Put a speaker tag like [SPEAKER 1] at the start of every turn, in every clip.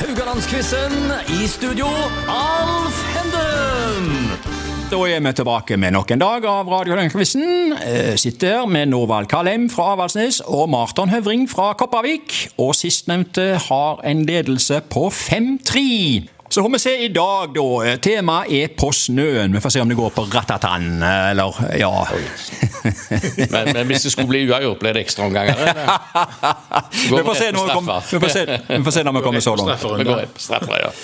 [SPEAKER 1] Rogalandsquizen. I studio, Alf Henden.
[SPEAKER 2] Da er vi tilbake med nok en dag av Radioquizen. Sitter med Norvald Kalem fra Avaldsnes og Marton Høvring fra Kopervik. Og sistnevnte har en ledelse på 5-3. Så får vi se i dag, da. Eh, Temaet er på snøen. Vi får se om det går på ratatan, eh, eller ja.
[SPEAKER 3] Men, men hvis det skulle bli uavgjort, ble det ekstraomganger.
[SPEAKER 2] vi får se når vi kommer, vi får se, vi får se når vi kommer så langt.
[SPEAKER 3] Vi går rett på straffer, ja.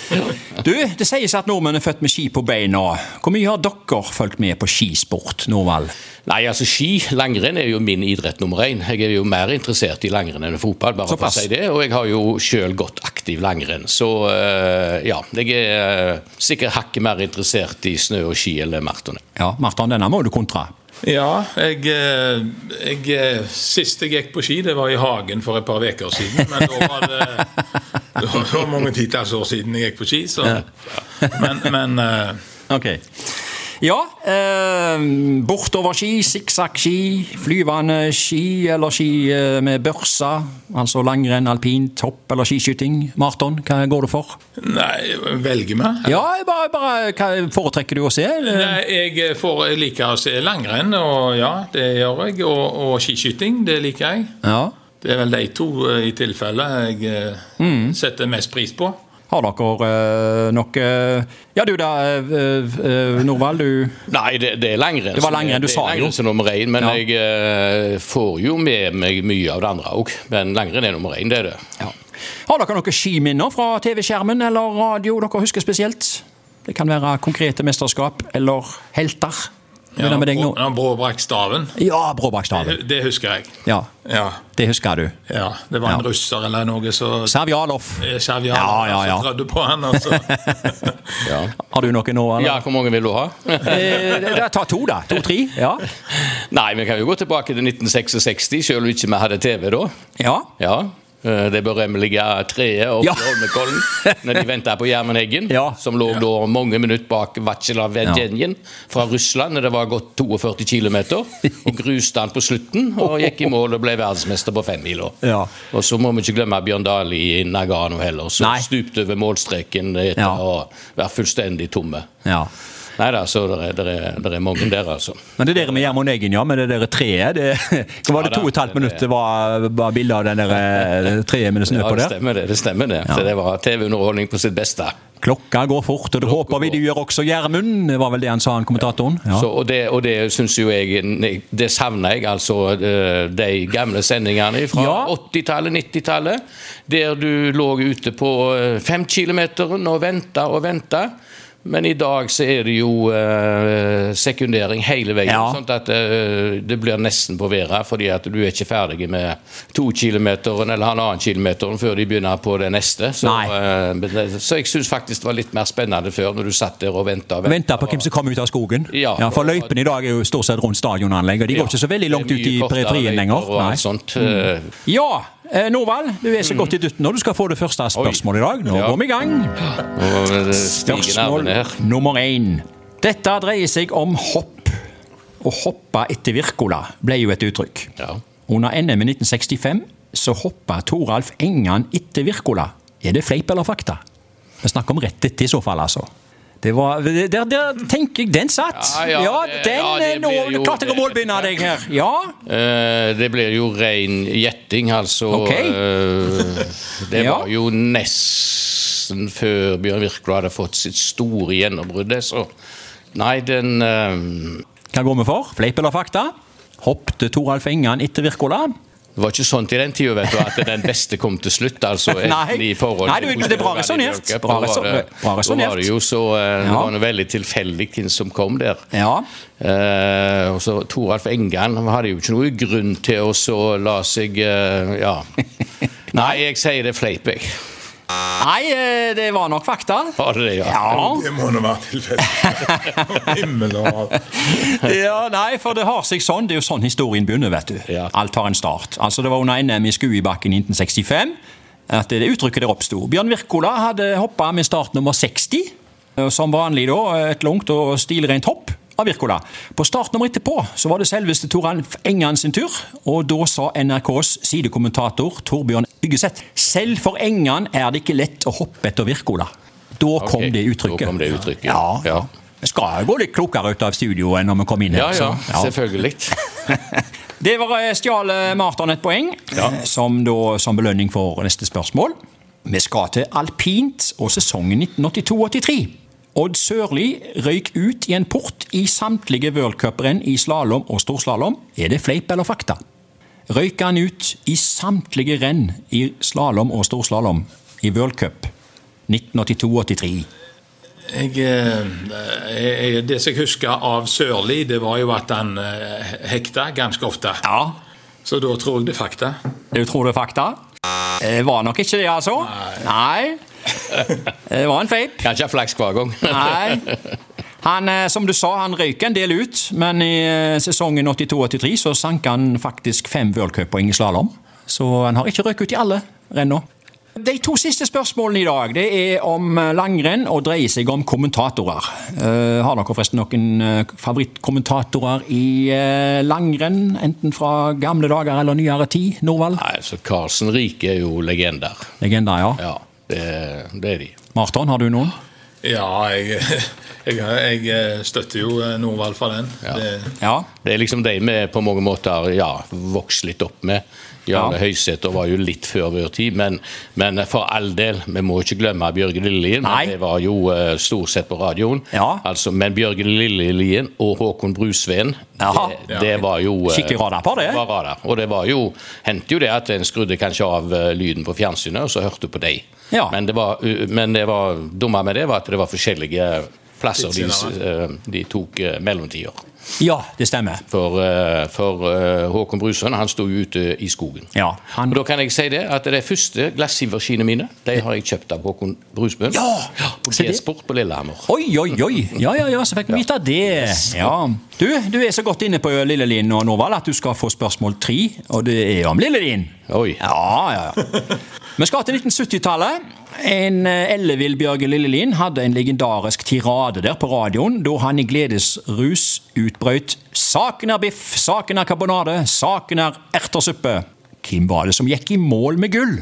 [SPEAKER 2] Du, det sies at nordmenn er født med ski på beina. Hvor mye har dere fulgt med på skisport, Norvald?
[SPEAKER 3] Nei, altså ski, langrenn er jo min idrett nummer én. Jeg er jo mer interessert i langrenn enn fotball, bare for å
[SPEAKER 2] Såpass.
[SPEAKER 3] si det. Og jeg har jo sjøl gått aktiv langrenn, så eh, ja. Jeg er eh, sikkert hakket mer interessert i snø og ski eller maraton.
[SPEAKER 2] Ja, Marton, denne må du kontra.
[SPEAKER 4] Ja, jeg, eh, jeg eh, Sist jeg gikk på ski, det var i hagen for et par uker siden. Men da var det, det var- det var mange titalls år siden jeg gikk på ski, så Men, men eh,
[SPEAKER 2] Ok. Ja, eh, bortoverski, sikksakkski, flyvende ski eller ski eh, med børsa. Altså langrenn, alpint, hopp eller skiskyting. Marton, hva går du for?
[SPEAKER 4] Nei, velger vi?
[SPEAKER 2] Ja, bare, bare hva foretrekker du å se?
[SPEAKER 4] Nei, jeg, eh, får, jeg liker å se langrenn, og ja, det gjør jeg. Og, og skiskyting, det liker jeg.
[SPEAKER 2] Ja.
[SPEAKER 4] Det er vel de to eh, i tilfelle jeg eh,
[SPEAKER 2] Mm.
[SPEAKER 4] setter mest pris på.
[SPEAKER 2] Har dere eh, nok eh, Ja, du da, eh, eh, Norvald. Du
[SPEAKER 3] Nei, det, det er langrenn.
[SPEAKER 2] Det var
[SPEAKER 3] som er-
[SPEAKER 2] langrenn, du
[SPEAKER 3] det er
[SPEAKER 2] sa jo.
[SPEAKER 3] langrenn som nummer én, men
[SPEAKER 2] Ja.
[SPEAKER 3] jeg eh, får jo med meg mye av det andre òg. Men langrenn er nummer én, det er det.
[SPEAKER 2] Har dere noen skiminner fra TV-skjermen eller radio dere husker spesielt? Det kan være konkrete mesterskap eller helter.
[SPEAKER 4] Ja,
[SPEAKER 2] Begynner med deg nå.
[SPEAKER 4] Brå- ja, Brå brakk staven.
[SPEAKER 2] Ja, Bråbakstaven.
[SPEAKER 4] Det husker jeg.
[SPEAKER 2] Ja,
[SPEAKER 4] Ja,
[SPEAKER 2] det husker du.
[SPEAKER 4] ja. Det var en
[SPEAKER 2] Ja.
[SPEAKER 4] russer eller noe som
[SPEAKER 2] Savjalov.
[SPEAKER 4] Skjevjar.
[SPEAKER 2] Ja, ja, ja.
[SPEAKER 4] Eh, Så trådde på han, altså. og så
[SPEAKER 3] Ja.
[SPEAKER 2] Har du noe nå, eller?
[SPEAKER 3] ja, hvor mange vil du ha?
[SPEAKER 2] Eh, da- ta to, da. To-tre. Ja.
[SPEAKER 3] Nei, vi kan jo gå tilbake til 1966, selv om ikke vi hadde TV da.
[SPEAKER 2] ja.
[SPEAKER 3] Ja, eh, det berømmelige treet oppe
[SPEAKER 2] Ja.
[SPEAKER 3] i Holmenkollen når de venta på Gjermund Eggen,
[SPEAKER 2] Ja.
[SPEAKER 3] som lå da mange minutter bak Vatsjela Vedjenjen fra Russland når det var gått 42 km, og gruste han på slutten og gikk i mål og ble verdensmester på femmila.
[SPEAKER 2] Ja.
[SPEAKER 3] Og så må vi ikke glemme Bjørn Dali i Nagano heller, som
[SPEAKER 2] Nei.
[SPEAKER 3] stupte over målstreken etter
[SPEAKER 2] Ja.
[SPEAKER 3] å være fullstendig tomme.
[SPEAKER 2] ja.
[SPEAKER 3] Nei da, så det er, der er, der er mange der, altså.
[SPEAKER 2] Men det der med Gjermund Eggen, ja, med det der treet det, Var det
[SPEAKER 3] Ja,
[SPEAKER 2] to og et
[SPEAKER 3] det-
[SPEAKER 2] halvt minutt det var, var bilde av det der eh, treet med det snø
[SPEAKER 3] Ja,
[SPEAKER 2] på
[SPEAKER 3] det
[SPEAKER 2] der?
[SPEAKER 3] stemmer det. det stemmer det. Så det var TV-underholdning på sitt beste.
[SPEAKER 2] Klokka går fort, og det håper vi du gjør også, Gjermund. Det var vel det han sa, han kommentatoren? Ja.
[SPEAKER 3] Så, og det, og det syns jo jeg Det savner jeg, altså eh, de gamle sendingene fra
[SPEAKER 2] Ja.
[SPEAKER 3] 80-tallet, 90-tallet. Der du lå ute på eh, femkilometeren og venta og venta. Men i dag så er det jo eh, sekundering hele veien.
[SPEAKER 2] Ja.
[SPEAKER 3] Sånn at eh, det blir nesten på været, fordi at du er ikke ferdig med to kilometeren eller halvannen kilometeren før de begynner på det neste. Så,
[SPEAKER 2] Nei.
[SPEAKER 3] eh, men det- så jeg syns faktisk det var litt mer spennende før, når du satt der og venta og
[SPEAKER 2] Venter på hvem som kommer ut av skogen.
[SPEAKER 3] Ja.
[SPEAKER 2] For løypene i dag er jo stort sett rundt stadionanlegg, og de går ikke så veldig langt ut i periferien lenger. Nei. Mm.
[SPEAKER 3] Nei.
[SPEAKER 2] Ja, eh, Norvald, du er så godt i dutten, og du skal få det første spørsmålet i dag. Nå
[SPEAKER 3] Mm. Ja.
[SPEAKER 2] går vi i gang.
[SPEAKER 3] Spørsmål
[SPEAKER 2] Spørsmål nummer én. Dette dreier seg om hopp. Å hoppe etter Wirkola ble jo et uttrykk.
[SPEAKER 3] Ja.
[SPEAKER 2] Under NM i 1965 så hoppa Toralf Engan etter Wirkola. Er det fleip eller fakta? Vi snakker om rett etter i så fall, altså. Det var, der, der tenker jeg Den satt!
[SPEAKER 3] Ja, ja, det-
[SPEAKER 2] den
[SPEAKER 3] ja,
[SPEAKER 2] eh,
[SPEAKER 3] det
[SPEAKER 2] nå
[SPEAKER 3] blir jo-
[SPEAKER 2] klarte jeg å målbinde deg her! Ja,
[SPEAKER 3] Eh, Det blir jo ren gjetting, altså.
[SPEAKER 2] Ok.
[SPEAKER 3] eh, det
[SPEAKER 2] Ja.
[SPEAKER 3] var jo nesten før Bjørn Wirkola hadde fått sitt store gjennombrudd. det, Så nei, den eh,
[SPEAKER 2] hva går vi for? Fleip eller fakta? Hoppte Toralf Engan etter Wirkola?
[SPEAKER 3] det var ikke sånn til den tida vet du, at den beste kom til slutt. altså.
[SPEAKER 2] Nei.
[SPEAKER 3] enten i forhold
[SPEAKER 2] Nei,
[SPEAKER 3] til
[SPEAKER 2] du- det er bra
[SPEAKER 3] hvordan
[SPEAKER 2] resonert.
[SPEAKER 3] gikk,
[SPEAKER 2] Bra
[SPEAKER 3] da var det-
[SPEAKER 2] resonert. Bra
[SPEAKER 3] Da var det
[SPEAKER 2] resonert.
[SPEAKER 3] jo så eh, det
[SPEAKER 2] Ja.
[SPEAKER 3] var noe veldig tilfeldig hvem som kom der.
[SPEAKER 2] Ja.
[SPEAKER 3] Eh, og så Toralf Engan han hadde jo ikke noe grunn til å så la seg eh, Ja. Nei, jeg sier det er fleip, jeg.
[SPEAKER 2] Nei, eh, det var nok fakta.
[SPEAKER 3] Var det det, ja?
[SPEAKER 2] Ja.
[SPEAKER 4] Det må nå være tilfellet. Himmel og hav.
[SPEAKER 2] ja, nei, for det har seg sånn. Det er jo sånn historien begynner, vet du.
[SPEAKER 3] Ja.
[SPEAKER 2] Alt har en start. Altså, det var under NM i Skuibakken i 1965 at det uttrykket der oppsto. Bjørn Wirkola hadde hoppa med start nummer 60, eh, som vanlig da, et langt eh, og stilrent hopp. av Wirkola. På startnummer etterpå så var det selveste Toran Engan sin tur, og da sa NRKs sidekommentator Torbjørn Byggeseth selv for Engan er det ikke lett å hoppe etter Wirkola. Da
[SPEAKER 3] Ok,
[SPEAKER 2] kom det uttrykket.
[SPEAKER 3] Da kom det uttrykket.
[SPEAKER 2] Ja, ja.
[SPEAKER 3] ja.
[SPEAKER 2] Vi skal gå litt klokere ut av studio enn når vi kom inn
[SPEAKER 3] Ja,
[SPEAKER 2] her.
[SPEAKER 3] ja,
[SPEAKER 2] så- ja.
[SPEAKER 3] selvfølgelig.
[SPEAKER 2] Det var eh, stjal eh, Marton et poeng, eh, som, da, som belønning for neste spørsmål. Vi skal til alpint og sesongen 1982-83. Odd Sørli røyk ut i en port i samtlige World Cup-renn i slalåm og storslalåm. Er det fleip eller fakta? Røyk han ut i samtlige renn i slalåm og storslalåm i World Cup 1982-83?
[SPEAKER 4] Jeg, eh, jeg, det som jeg husker av Sørli, det var jo at han eh, hekta ganske ofte.
[SPEAKER 2] Ja,
[SPEAKER 4] Så da tror jeg det er fakta.
[SPEAKER 2] du tror det er fakta? Eh, Det var nok ikke det, altså. Nei. Eh, Det var en fleip.
[SPEAKER 3] Kanskje flaks hver gang.
[SPEAKER 2] Nei. Han, eh, som du sa, han røyk en del ut, men i eh, sesongen 82-83 så sank han faktisk fem World Cup-poeng i slalåm. Så han har ikke røyk ut i alle renna. De to siste spørsmålene i dag det er om eh, langrenn og dreier seg om kommentatorer. Eh, har dere forresten noen eh, favorittkommentatorer i eh, langrenn? Enten fra gamle dager eller nyere tid? Norvald?
[SPEAKER 3] Nei, så Karlsen Rike er jo legender.
[SPEAKER 2] Legender, ja.
[SPEAKER 3] Ja, det, det er de.
[SPEAKER 2] Marton, har du noen?
[SPEAKER 4] Ja, jeg, jeg, jeg eh, støtter jo eh, Norvald for den.
[SPEAKER 3] Ja.
[SPEAKER 4] Det,
[SPEAKER 2] Ja.
[SPEAKER 3] Det er liksom de vi på mange måter ja, vokst litt opp med. Jarle
[SPEAKER 2] Ja.
[SPEAKER 3] Høysæter var jo litt før vår tid, men, men for all del, vi må ikke glemme Bjørge Lillelien.
[SPEAKER 2] Nei.
[SPEAKER 3] men Det var jo eh, stort sett på radioen.
[SPEAKER 2] Ja.
[SPEAKER 3] Altså, men Bjørge Lillelien og Håkon Brusveen,
[SPEAKER 2] Jaha.
[SPEAKER 3] det, det var jo eh,
[SPEAKER 2] Skikkelig radarpar, det.
[SPEAKER 3] Var radar. Og det var jo, hendte jo det at en skrudde kanskje av eh, lyden på fjernsynet, og så hørte du på dem.
[SPEAKER 2] Ja.
[SPEAKER 3] Men det var, uh, men det var dumme med det var at det var forskjellige plasser de,
[SPEAKER 4] Tidsscenarier.
[SPEAKER 3] eh, de tok eh, mellomtider.
[SPEAKER 2] ja, det stemmer.
[SPEAKER 3] For, eh, for eh, Håkon Brusund, han sto jo ute i skogen.
[SPEAKER 2] Ja, han-
[SPEAKER 3] Og da kan jeg si det, at de første glassiverskiene mine, de har jeg kjøpt av Håkon Brusbøen.
[SPEAKER 2] Ja!
[SPEAKER 3] På
[SPEAKER 2] Se det.
[SPEAKER 3] G-sport på Lillehammer.
[SPEAKER 2] Oi, oi, oi! Ja, ja, ja, så fikk vi vite det. Ja. Du, du er så godt inne på Lille Linn og Norvald at du skal få spørsmål tre, og det er om Lille Linn.
[SPEAKER 3] Oi.
[SPEAKER 2] Ja, ja, ja. Vi skal til 1970-tallet. En eh, ellevill Bjørge Lillelien hadde en legendarisk tirade der på radioen da han i gledesrus utbrøt 'Saken er biff, saken er karbonade, saken er ertersuppe'. Hvem var det som gikk i mål med gull?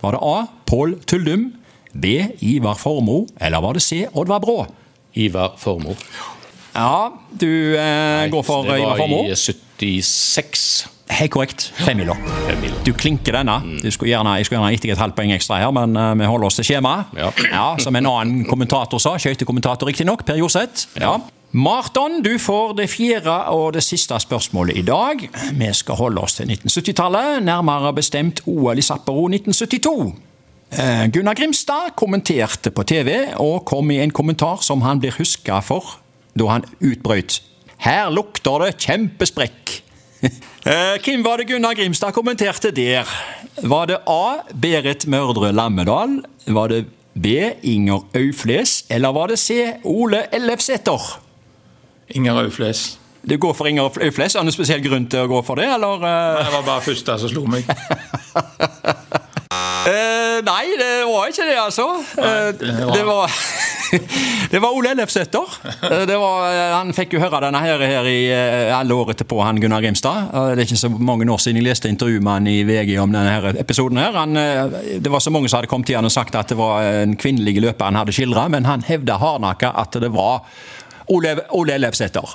[SPEAKER 2] Var det A. Pål Tuldum? B. Ivar Formoe? Eller var det C. Oddvar Brå?
[SPEAKER 3] Ivar Formoe.
[SPEAKER 2] Ja, du eh, går for
[SPEAKER 3] det
[SPEAKER 2] Ivar
[SPEAKER 3] var
[SPEAKER 2] Formoe.
[SPEAKER 3] i 76.
[SPEAKER 2] Helt korrekt. Femmila.
[SPEAKER 3] Femmila.
[SPEAKER 2] Du klinker denne. Du skulle gjerne, jeg skulle gjerne gitt deg et halvt poeng ekstra her, men eh, vi holder oss til skjemaet.
[SPEAKER 3] Ja.
[SPEAKER 2] som en annen kommentator sa, skøytekommentator riktignok, Per Jorseth. Ja. Marton, du får det fjerde og det siste spørsmålet i dag. Vi skal holde oss til 1970-tallet, nærmere bestemt OL i Sapporo 1972. Eh, Gunnar Grimstad kommenterte på TV og kom i en kommentar som han blir huska for da han utbrøt. Her lukter det kjempesprekk. Eh, Hvem var det Gunnar Grimstad kommenterte der? Var det A. Berit Mørdre Lammedal? Var det B. Inger Aufles? Eller var det C. Ole Ellefsæter?
[SPEAKER 4] Inger Aufles.
[SPEAKER 2] Du går for Inger Aufles. Er det noen spesiell grunn til å gå for det, eller? eh?
[SPEAKER 4] Det var bare første som slo meg.
[SPEAKER 2] Eh, nei, det var ikke det, altså. Eh,
[SPEAKER 4] det var-
[SPEAKER 2] det var Det var Ole Ellefsæter. Eh, det var- eh, Han fikk jo høre denne her, her i eh, alle år etterpå, han Gunnar Grimstad. Eh, Det er ikke så mange år siden jeg leste intervju med han i VG om denne her episoden. her. Han, eh, det var så mange som hadde kommet til han og sagt at det var en kvinnelig løper han hadde skildra, men han hevda hardnakka at det var Ole, Ole Ellefsæter.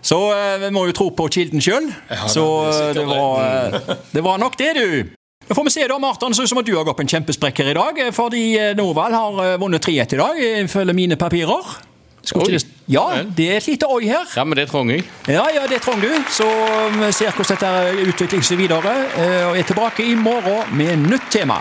[SPEAKER 2] Så eh, vi må jo tro på kilden sjøl.
[SPEAKER 4] Ja,
[SPEAKER 2] så
[SPEAKER 4] det er
[SPEAKER 2] eh,
[SPEAKER 4] sikkert
[SPEAKER 2] det var, eh, det var nok det, du. Nå får vi se, da, Martin. Så ut som at du har gått på en kjempesprekk her i dag. eh, Fordi eh, Norvald har eh, vunnet 3-1 i dag, ifølge mine papirer. Skulle
[SPEAKER 3] Oi.
[SPEAKER 2] ikke det- Ja, det er et lite oi her.
[SPEAKER 3] Ja, men det trenger jeg.
[SPEAKER 2] Ja, ja, det trenger du. Så vi ser hvordan dette utvikler seg videre. eh, Og er tilbake i morgen med nytt tema.